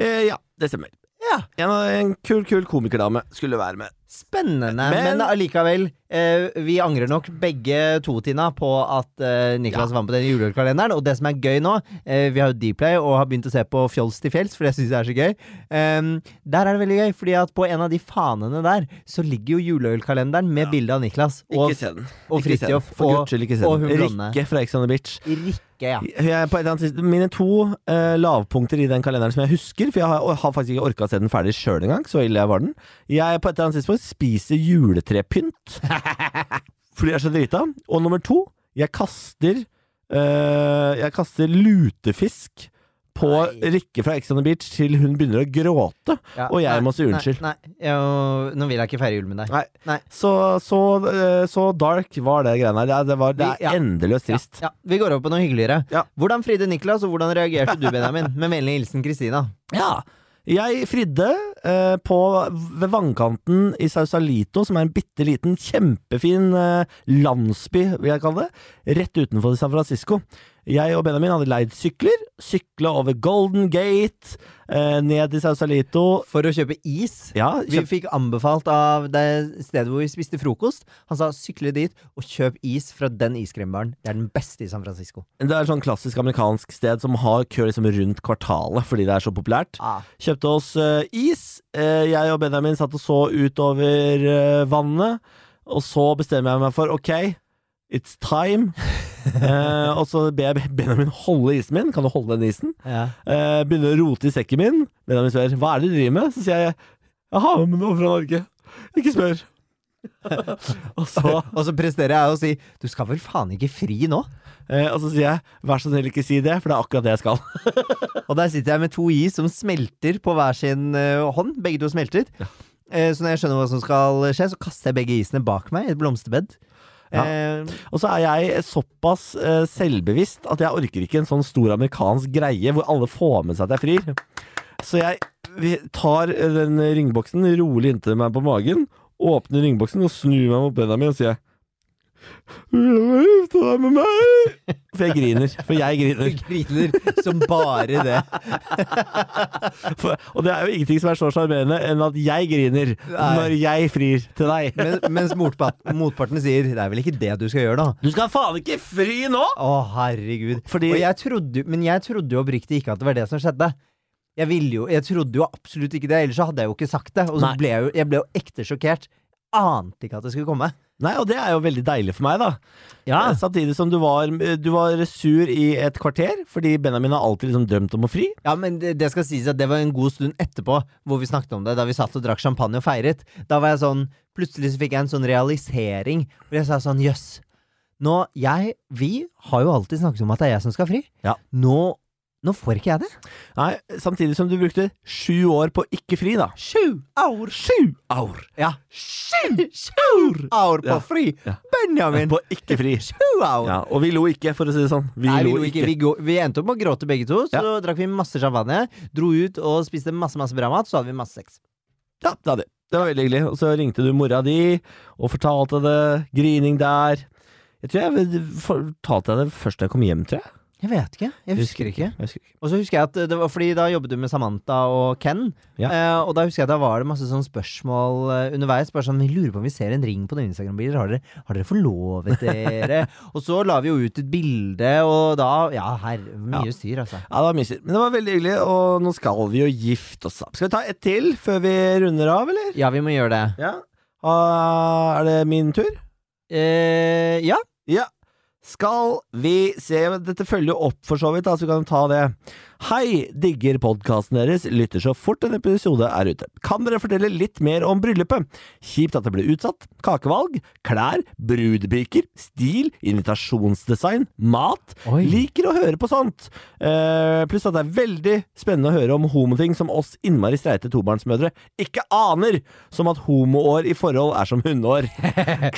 A: Eh, ja, det stemmer.
B: Ja.
A: En, av- en kul, kul komikerdame skulle være med.
B: Spennende,
A: Men-
B: men, allikevel. Eh, vi angrer nok begge to, Tina, på at eh, Niklas var med på den julekalenderen. Og det som er gøy nå, eh, vi har jo Dplay og har begynt å se på Fjols til fjells, for det syns jeg er så gøy. Em, der er det veldig gøy, fordi at på en av de fanene der, så ligger jo juleølkalenderen med bilde av Niklas. Og
A: Ikke se den.
B: og
A: Ikke se den.
B: Fridtjof
A: For
B: og-
A: guds skyld, ikke se
B: og
A: den.
B: hun blonde.
A: Rikke fra Ex on the Beach.
B: Rikke, ja.
A: Jeg, på et eller annet tidspunkt- mine to eh, lavpunkter i den kalenderen som jeg husker, for jeg har, og har faktisk ikke orka å se den ferdig sjøl engang, så ille var den. Jeg på et eller annet tidspunkt spiser juletrepynt fordi jeg er så drita. Og nummer to, jeg kaster eh, Jeg kaster lutefisk på
B: Nei.
A: Rikke fra Ex on the Beach til hun begynner å gråte,
B: ja.
A: og jeg
B: nei,
A: må si unnskyld.
B: Nei, nei jo, nå vil jeg ikke feire jul med deg.
A: Nei.
B: Nei.
A: Så, så, eh, så dark var det greiene her. Det, er- det, var, det
B: Vi- ja.
A: er endeløst trist.
B: Ja, ja. Vi går over på noe hyggeligere.
A: Ja.
B: Hvordan fridde Niklas, og hvordan reagerte du, Benjamin? Med vennlig hilsen Kristina.
A: Ja. Jeg fridde eh, på, ved vannkanten i Sausalito, som er en bitte liten, kjempefin eh, landsby, vil jeg kalle det, rett utenfor San Francisco. Jeg og Benjamin hadde leid sykler, sykla over Golden Gate, eh, ned i Sausalito.
B: For å kjøpe is.
A: Ja,
B: Vi
A: kjempe-
B: fikk anbefalt av det stedet hvor vi spiste frokost. Han sa sykle dit og kjøp is fra den iskrembaren. Det er den beste i San Francisco.
A: det er et sånn klassisk amerikansk sted som har kø liksom rundt kvartalet fordi det er så populært. Kjøpte oss eh, is. Eh, jeg og Benjamin satt og så utover eh, vannet. Og så bestemmer jeg meg for OK, it's time. Eh, og så ber jeg Benjamin holde isen min. Kan du holde den isen?
B: Ja.
A: Eh, begynner å rote i sekken min. Benjamin spør hva er det du driver med. Så sier jeg jeg har med noe fra Norge. Ikke spør. og, så,
B: Og så presterer jeg å si du skal vel faen ikke fri nå?
A: eh, og så sier jeg vær så snill, ikke si det, for det er akkurat det jeg skal.
B: Og der sitter jeg med to is som smelter på hver sin eh, hånd. Begge to smeltet. Eh, Så når jeg skjønner hva som skal skje, så kaster jeg begge isene bak meg i et blomsterbed.
A: Ja.
B: Eh,
A: Og så er jeg såpass eh, selvbevisst at jeg orker ikke en sånn stor amerikansk greie hvor alle får med seg at jeg frir. Så jeg vi- tar eh, den ringboksen rolig inntil meg på magen, åpner ringboksen og snur meg mot Benjamin og sier Vil du gifte deg med meg? For jeg griner. For jeg griner.
B: du griner som bare det.
A: For, og det er jo ingenting som er så sjarmerende enn at jeg griner
B: Nei.
A: når jeg frir til deg.
B: Men, mens motpa- motparten sier 'det er vel ikke det du skal gjøre', da.
A: Du skal faen ikke fri nå!
B: Å, herregud.
A: Fordi-
B: Og jeg trodde, men jeg trodde jo oppriktig ikke at det var det som skjedde. Jeg, ville jo, jeg trodde jo absolutt ikke det, ellers så hadde jeg jo ikke sagt det. Og så
A: Nei.
B: ble jeg, jo, jeg ble jo ekte sjokkert. Ante ikke at det skulle komme.
A: Nei, og det er jo veldig deilig for meg, da. Eh, Samtidig som du var, eh, du var sur i et kvarter, fordi Benjamin har alltid liksom drømt om å fri.
B: Ja, men det, det skal sies at det var en god stund etterpå hvor vi snakket om det, da vi satt og drakk champagne og feiret. Da var jeg sånn Plutselig så fikk jeg en sånn realisering hvor jeg sa sånn jøss. Nå, jeg Vi har jo alltid snakket om at det er jeg som skal fri.
A: Ja.
B: Nå, nå får ikke jeg det.
A: Nei, samtidig som du brukte sju år på å ikke fri, da.
B: Sju år. Sju
A: Aur.
B: Ja. Sju sju år på
A: Ja.
B: fri!
A: Ja.
B: Benjamin!
A: På ikke fri.
B: Sju år!
A: Ja, og vi lo ikke, for å si det sånn. Vi
B: Nei, vi,
A: lo
B: lo ikke.
A: ikke.
B: Vi, gå- vi endte opp med å gråte begge to, så drakk vi masse champagne, dro ut og spiste masse masse bra mat, så hadde vi masse sex.
A: Ja, det hadde vi. Det var veldig hyggelig. Og så ringte du mora di og fortalte det. Grining der. Jeg tror jeg fortalte deg det først da jeg kom hjem, tror jeg.
B: Jeg vet ikke. Jeg husker ikke.
A: Jeg husker ikke.
B: Og så husker jeg at det var fordi da jobbet du med Samantha og Ken,
A: Ja.
B: eh, og da husker jeg at da var det masse sånn spørsmål eh, underveis. Bare sånn, vi lurer på om vi ser en ring på noen Instagram-biler. Har, dere- har dere forlovet dere? og så la vi jo ut et bilde, og da Ja, herre, mye styr, altså.
A: Ja, det var mye styr. Men det var veldig hyggelig, og nå skal vi jo gifte oss. da. Skal vi ta ett til før vi runder av, eller?
B: Ja, vi må gjøre det.
A: Ja. Ah, er det min tur?
B: Eh, ja.
A: Ja. Skal vi se Dette følger jo opp, for så vidt, da, så vi kan ta det. Hei, digger podkasten deres, lytter så fort en episode er ute. Kan dere fortelle litt mer om bryllupet? Kjipt at det ble utsatt. Kakevalg, klær, brudepiker, stil, invitasjonsdesign, mat.
B: Oi.
A: Liker å høre på sånt. Eh, pluss at det er veldig spennende å høre om homoting som oss innmari streite tobarnsmødre ikke aner, som at homoår i forhold er som hundeår.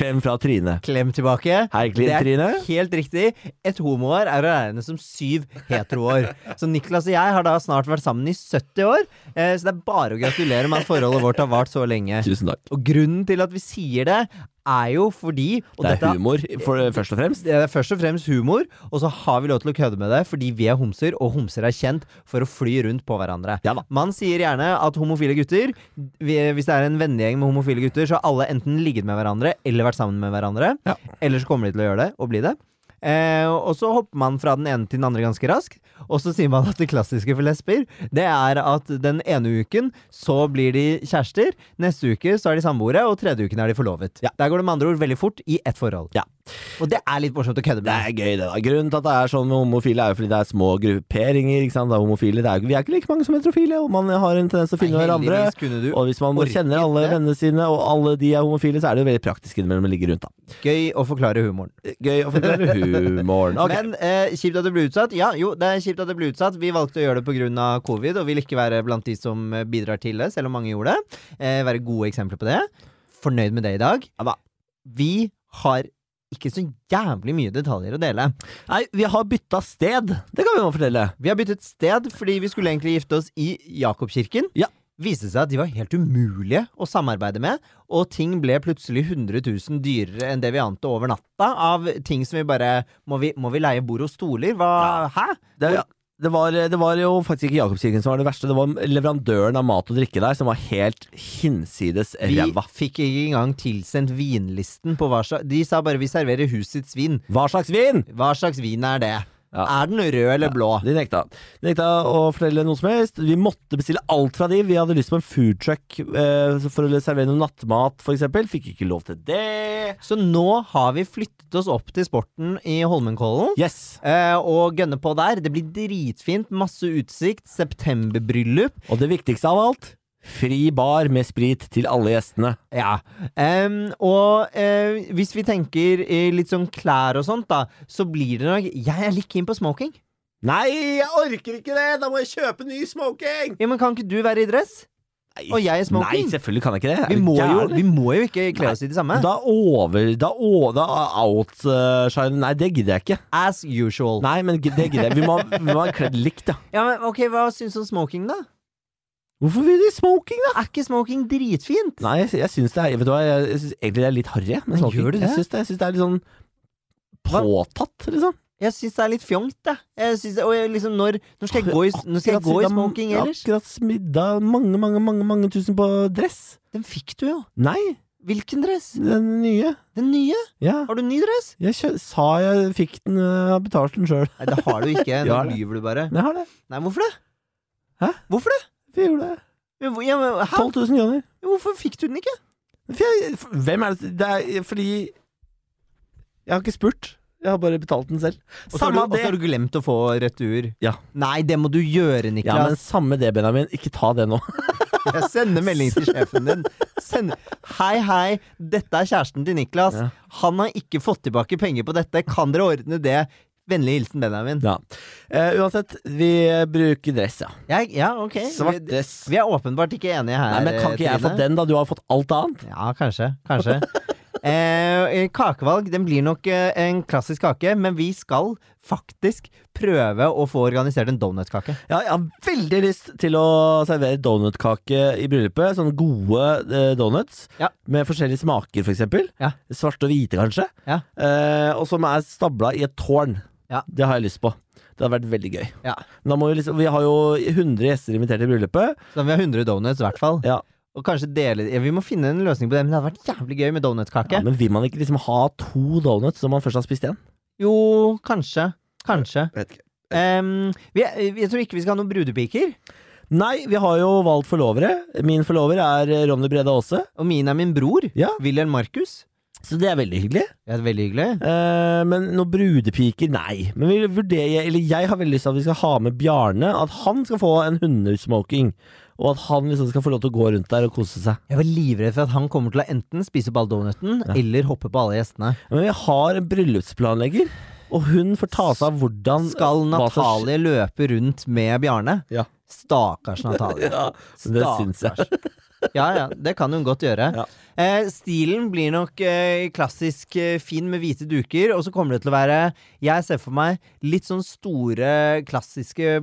A: Klem fra Trine.
B: Klem tilbake.
A: Hei, Klin-
B: det er
A: Trine.
B: helt riktig. Et homoår er å regne som syv heteroår. Så Niklas og jeg har da snart vært sammen i 70 år, eh, så det er bare å gratulere med at forholdet vårt har vart så lenge.
A: Tusen takk.
B: Og grunnen til at vi sier det, er jo fordi og
A: det
B: dette
A: er humor, for, først og fremst.
B: Det er først og fremst humor, og så har vi lov til å kødde med det fordi vi er homser, og homser er kjent for å fly rundt på hverandre.
A: Ja da.
B: Man sier gjerne at homofile gutter vi- Hvis det er en vennegjeng med homofile gutter, så har alle enten ligget med hverandre eller vært sammen med hverandre.
A: Ja.
B: Eller så kommer de til å gjøre det, og bli det. Eh, og så hopper man fra den ene til den andre ganske raskt. Og så sier man at det klassiske for lesber, det er at den ene uken så blir de kjærester, neste uke så er de samboere, og tredje uken er de forlovet.
A: Ja.
B: Der går det med andre ord veldig fort i ett forhold.
A: Ja.
B: Og det er litt morsomt å kødde
A: Det
B: med.
A: er gøy, det. da Grunnen til at det er sånn med homofile, er jo fordi det er små grupperinger. Ikke sant? Det er homofile, det er, jo- vi er ikke like mange som heterofile, og man har en tendens til å finne hverandre.
B: Heldigvis kunne du
A: Og hvis man
B: orket
A: kjenner alle
B: det.
A: vennene sine, og alle de er homofile, så er det jo veldig praktisk innimellom å ligge rundt, da.
B: Gøy å forklare humoren.
A: Gøy å fortelle humoren. Ok.
B: Men eh, kjipt at det ble utsatt. Ja, jo, det er kjipt at det ble utsatt. Vi valgte å gjøre det pga. covid, og vil ikke være blant de som eh, bidrar til det, selv om mange gjorde det. Eh, være gode eksempler på det. Fornøyd med det i dag.
A: Ja da.
B: Vi har ikke så jævlig mye detaljer å dele.
A: Nei, vi har bytta sted. Det kan vi nå fortelle.
B: Vi har byttet sted fordi vi skulle egentlig gifte oss i Jakobkirken.
A: Ja.
B: Viste seg at de var helt umulige å samarbeide med, og ting ble plutselig 100 000 dyrere enn det vi ante over natta, av ting som vi bare Må vi, må vi leie bord og stoler? Hva Hæ?
A: Det, det, var, det var jo faktisk ikke Jakobskirken som var det verste. Det var leverandøren av mat og drikke der som var helt hinsides
B: Vi
A: ræva.
B: fikk ikke engang tilsendt vinlisten på hva slags De sa bare 'vi serverer husets vin'.
A: Hva slags vin?
B: Hva slags vin er det?
A: Ja.
B: Er den rød eller blå?
A: De nekta. De nekta å fortelle noe som helst. Vi måtte bestille alt fra de. Vi hadde lyst på en foodtruck eh, for å servere noe nattmat, f.eks. Fikk ikke lov til det.
B: Så nå har vi flyttet oss opp til sporten i Holmenkollen.
A: Yes.
B: Eh, og gønne på der. Det blir dritfint. Masse utsikt. Septemberbryllup.
A: Og det viktigste av alt fri bar med sprit til alle gjestene.
B: Ja. Em, og eh, hvis vi tenker i litt sånn klær og sånt, da, så blir det nok Jeg er litt keen på smoking.
A: Nei, jeg orker ikke det! Da må jeg kjøpe ny smoking!
B: Ja, men kan ikke du være i dress?
A: Nei,
B: Og jeg er smoking.
A: Nei, selvfølgelig kan jeg ikke det.
B: Vi må
A: Er du
B: jo,
A: gæren?
B: vi må jo ikke kle oss i det samme.
A: Da over Da, å- da outshine Nei, det gidder jeg ikke.
B: As usual.
A: Nei, men gi- det gidder jeg. Vi må, vi må ha kledd likt, da.
B: Ja, men ok, Hva syns du om smoking, da?
A: Hvorfor vil de smoking, da?
B: Er ikke smoking dritfint?
A: Nei, jeg, jeg syns det er Vet du hva, jeg, jeg syns egentlig det er litt harry, jeg, med
B: Men
A: smoking.
B: gjør du det?
A: Jeg syns det, jeg syns det er litt sånn
B: Hva?
A: påtatt, liksom.
B: Jeg syns det er litt fjongt, jeg. jeg, synes, og jeg liksom, når, når skal jeg gå i, når skal jeg gå i
A: Akkurat smidd-
B: smoking ellers?
A: Akkurat smidda mange, mange, mange mange tusen på dress.
B: Den fikk du jo.
A: Nei,
B: Hvilken dress?
A: den nye.
B: Den nye?
A: Ja.
B: Har du en ny dress?
A: Jeg kjø sa jeg fikk den, øh, har betalt den sjøl.
B: Nei, det har du ikke. Nå
A: Ja, det.
B: lyver du bare.
A: Men jeg har det.
B: Nei, hvorfor det?
A: Hæ?
B: Hvorfor det?
A: Vi gjorde det.
B: Men hvor- Ja, men, hæ?
A: 12 000 kroner.
B: Hvorfor fikk du den ikke?
A: For jeg, for- hvem er det Det er fordi Jeg har ikke spurt. Jeg har bare betalt den selv.
B: Og så har du-
A: Samme
B: og så har
A: det.
B: du glemt å få retur.
A: Ja.
B: Nei, det må du gjøre,
A: Ja, men
B: Niklas.
A: samme det, Benjamin. Ikke ta det nå.
B: Jeg sender melding til sjefen din. Send. Hei, hei, dette er kjæresten til Niklas.
A: Ja.
B: Han har ikke fått tilbake penger på dette. Kan dere ordne det? Vennlig hilsen Benjamin.
A: Ja. Eh, uansett, vi eh, bruker dress, ja.
B: Jeg, ja, ok.
A: Svart
B: Vi,
A: dress.
B: vi er åpenbart ikke enige her.
A: Nei, men Kan ikke jeg få
B: Trine.
A: den, da? Du har fått alt annet.
B: Ja, kanskje. Kanskje. Eh, kakevalg den blir nok eh, en klassisk kake, men vi skal faktisk prøve å få organisert en donutkake.
A: Ja, jeg har veldig lyst til å servere donutkake i bryllupet. Sånne gode eh, donuts
B: Ja.
A: med forskjellige smaker, f.eks. For eksempel.
B: Ja.
A: Svarte og hvite, kanskje.
B: Ja.
A: Eh, og som er stabla i et tårn.
B: Ja.
A: Det har jeg lyst på. Det hadde vært veldig gøy.
B: Ja.
A: Men da må vi, liksom, vi har jo 100 gjester invitert til bryllupet.
B: Så vi har 100 donuts, i hvert fall.
A: Ja.
B: Og kanskje dele ja, Vi må finne en løsning på det, men det hadde vært jævlig gøy med
A: Ja,
B: donutkake.
A: men vil man ikke liksom ha to donuts når man først har spist én?
B: Jo, kanskje. Kanskje. Em, vi, vi- jeg tror ikke vi skal ha noen brudepiker.
A: Nei, vi har jo valgt forlovere. Min forlover er eh, Ronny Breda Aase,
B: Og min er min bror.
A: Ja.
B: Wilhelm Markus.
A: så det er veldig hyggelig.
B: Det er veldig hyggelig.
A: Eh, men noen brudepiker, nei. Men vi vurderer, eller jeg har veldig lyst til at vi skal ha med Bjarne. At han skal få en hundesmoking. Og at han liksom skal få lov til å gå rundt der og kose seg.
B: Jeg var livredd for at han kommer til å enten spise opp all donuten eller hoppe på alle gjestene.
A: Men vi har en bryllupsplanlegger, og hun får ta seg av hvordan
B: Skal
A: hva som skjer.
B: Natalie løpe rundt med Bjarne?
A: Ja.
B: Stakkars Natalie.
A: Ja, det syns jeg.
B: Ja, ja, det kan hun godt gjøre.
A: Ja.
B: Eh, stilen blir nok eh, klassisk eh, fin med hvite duker, og så kommer det til å være, jeg ser for meg, litt sånn store, klassiske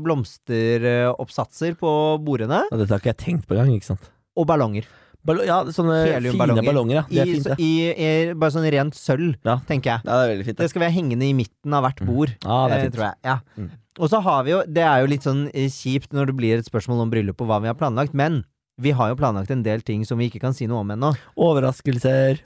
B: blomsteroppsatser på bordene,
A: Ja, dette har ikke jeg tenkt på engang, ikke sant.
B: og ballonger.
A: Ball ja, sånne
B: Heliumballonger.
A: fine ballonger, ja. Det er
B: I,
A: fint, det.
B: i, i, bare sånn rent sølv,
A: Ja.
B: tenker jeg.
A: Ja, det er Mm. veldig fint,
B: Det skal vi ha hengende i midten av hvert bord.
A: Ja, det er
B: Eh,
A: fint.
B: tror jeg. Ja.
A: Mm.
B: Og så har vi jo Det er jo litt sånn eh, kjipt når det blir et spørsmål om bryllup og hva vi har planlagt, men vi har jo planlagt en del ting som vi ikke kan si noe om ennå.
A: Overraskelser.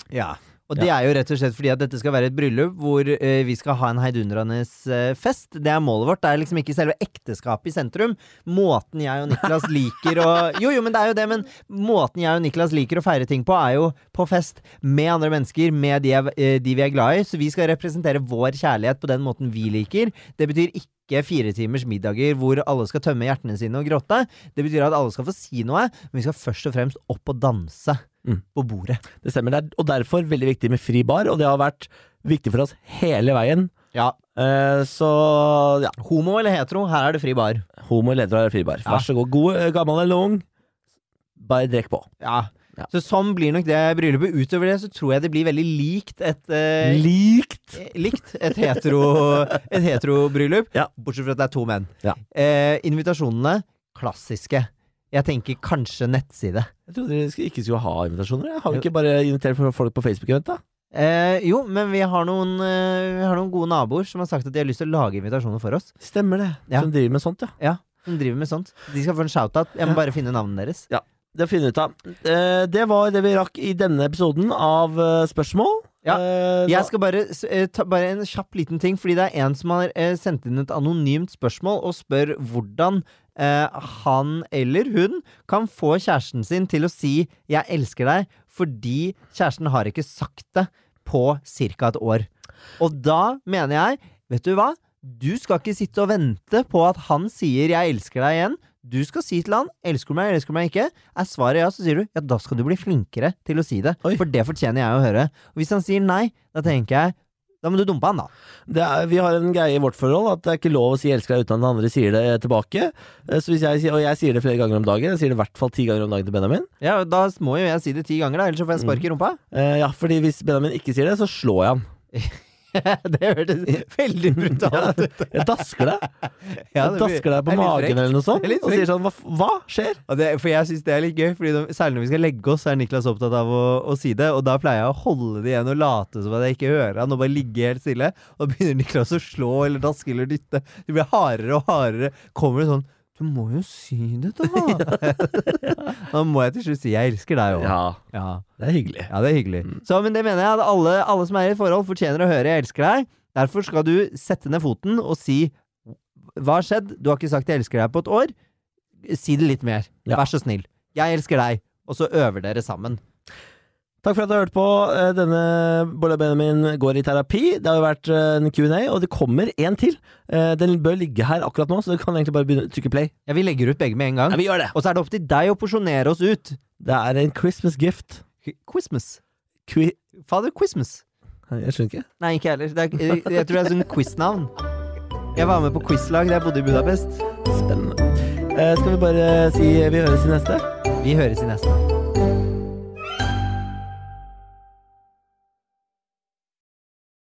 B: Og det er jo rett og slett fordi at dette skal være et bryllup hvor eh, vi skal ha en heidundrende eh, fest. Det er målet vårt. Det er liksom ikke selve ekteskapet i sentrum. Måten jeg og Niklas liker å Jo, jo, men det er jo det, men måten jeg og Niklas liker å feire ting på, er jo på fest med andre mennesker, med de, jeg, eh, de vi er glad i. Så vi skal representere vår kjærlighet på den måten vi liker. Det betyr ikke fire timers middager hvor alle skal tømme hjertene sine og gråte. Det betyr at alle skal få si noe, men vi skal først og fremst opp og danse
A: Mm.
B: på bordet.
A: Det stemmer. Det er, og derfor veldig viktig med fri bar, og det har vært viktig for oss hele veien.
B: Ja,
A: Eh, så ja,
B: Homo eller hetero, her er det fri bar.
A: homo leder av fribar.
B: Ja.
A: Vær så god. God, eh, gammel eller ung, bare drikk på.
B: Ja.
A: Ja.
B: Så sånn blir nok det bryllupet. Utover det så tror jeg det blir veldig likt et eh,
A: Likt!
B: eh, Likt et hetero Et heterobryllup,
A: Ja.
B: bortsett fra at det er to menn.
A: Ja.
B: Eh, invitasjonene klassiske. Jeg tenker kanskje nettside.
A: Jeg trodde dere skulle- ikke skulle ha invitasjoner. jeg. Har vi ikke bare invitert for- folk på Facebook? Vent, da?
B: Eh, jo, men vi har, noen, eh, vi har noen gode naboer som har sagt at de har lyst til å lage invitasjoner for oss.
A: Stemmer det.
B: Ja.
A: Som driver med sånt, ja.
B: Som driver med sånt. De skal få en shout-out. Jeg må bare finne navnet deres.
A: Det finner vi ut av. Eh, det var det vi rakk i denne episoden av eh, spørsmål.
B: Ja.
A: Eh, da-
B: Jeg skal bare s- eh, ta bare en kjapp liten ting, fordi det er en som har eh, sendt inn et anonymt spørsmål og spør hvordan eh, han eller hun kan få kjæresten sin til å si 'jeg elsker deg' fordi kjæresten har ikke sagt det på ca. et år. Og da mener jeg, vet du hva, du skal ikke sitte og vente på at han sier 'jeg elsker deg' igjen. Du skal si til han 'elsker du meg, elsker du meg ikke'. Er svaret ja, så sier du ja, da skal du bli flinkere til å si det.
A: Oi.
B: For det fortjener jeg å høre. Og hvis han sier nei, da tenker jeg Da må du dumpe han, da.
A: Det er, vi har en greie i vårt forhold at det er ikke lov å si 'elsker deg' uten at den andre sier det tilbake. Eh, Så hvis jeg, sier- og jeg sier det flere ganger om dagen, jeg sier det i hvert fall ti ganger om dagen til Benjamin.
B: Ja, Da må jo jeg si det ti ganger, da, ellers så får jeg spark i rumpa.
A: Eh, ja, fordi hvis Benjamin ikke sier det, så slår jeg han.
B: det hørtes veldig brutalt ut.
A: Jeg dasker deg.
B: Ja,
A: jeg
B: det blir-
A: dasker deg
B: det
A: på
B: er litt
A: magen
B: frekt.
A: eller noe sånt,
B: Det er litt
A: og sier sånn hva, f- hva skjer?
B: Og det, for jeg syns det er litt gøy, Fordi de, særlig når vi skal legge oss, så er Niklas opptatt av å, å si det. Og da pleier jeg å holde det igjen og late som at jeg ikke hører han, og bare ligge helt stille. Og da begynner Niklas å slå eller daske eller dytte. Det blir hardere og hardere. Kommer det sånn Du må jo si det, da! da må jeg til slutt si 'jeg elsker deg' òg.
A: Ja,
B: Ja.
A: det er hyggelig.
B: Ja, det er hyggelig. Så, men det mener jeg at alle, alle som er i et forhold, fortjener å høre 'jeg elsker deg'. Derfor skal du sette ned foten og si 'hva har skjedd', du har ikke sagt 'jeg elsker deg' på et år. Si det litt mer.
A: Ja.
B: Vær så snill. Jeg elsker deg. Og så øver dere sammen.
A: Takk for at du har hørt på. eh, Denne Bolle og Benjamin går i terapi. Det har jo vært eh, en Q&A, og det kommer en til. Eh, Den bør ligge her akkurat nå, så du kan egentlig bare begynne å trykke play.
B: Ja, vi legger ut begge med en gang.
A: Ja, vi gjør det.
B: Og så er det opp til deg å porsjonere oss ut.
A: Det er en Christmas gift.
B: Qu- Christmas.
A: Qui
B: Father Christmas.
A: jeg skjønner ikke.
B: Nei, ikke jeg heller. Det er, jeg, jeg tror det er sånn quiznavn. Jeg var med på quizlag da jeg bodde i Budapest.
A: Spennende. Eh, Skal vi bare si vi høres i neste?
B: Vi høres i neste.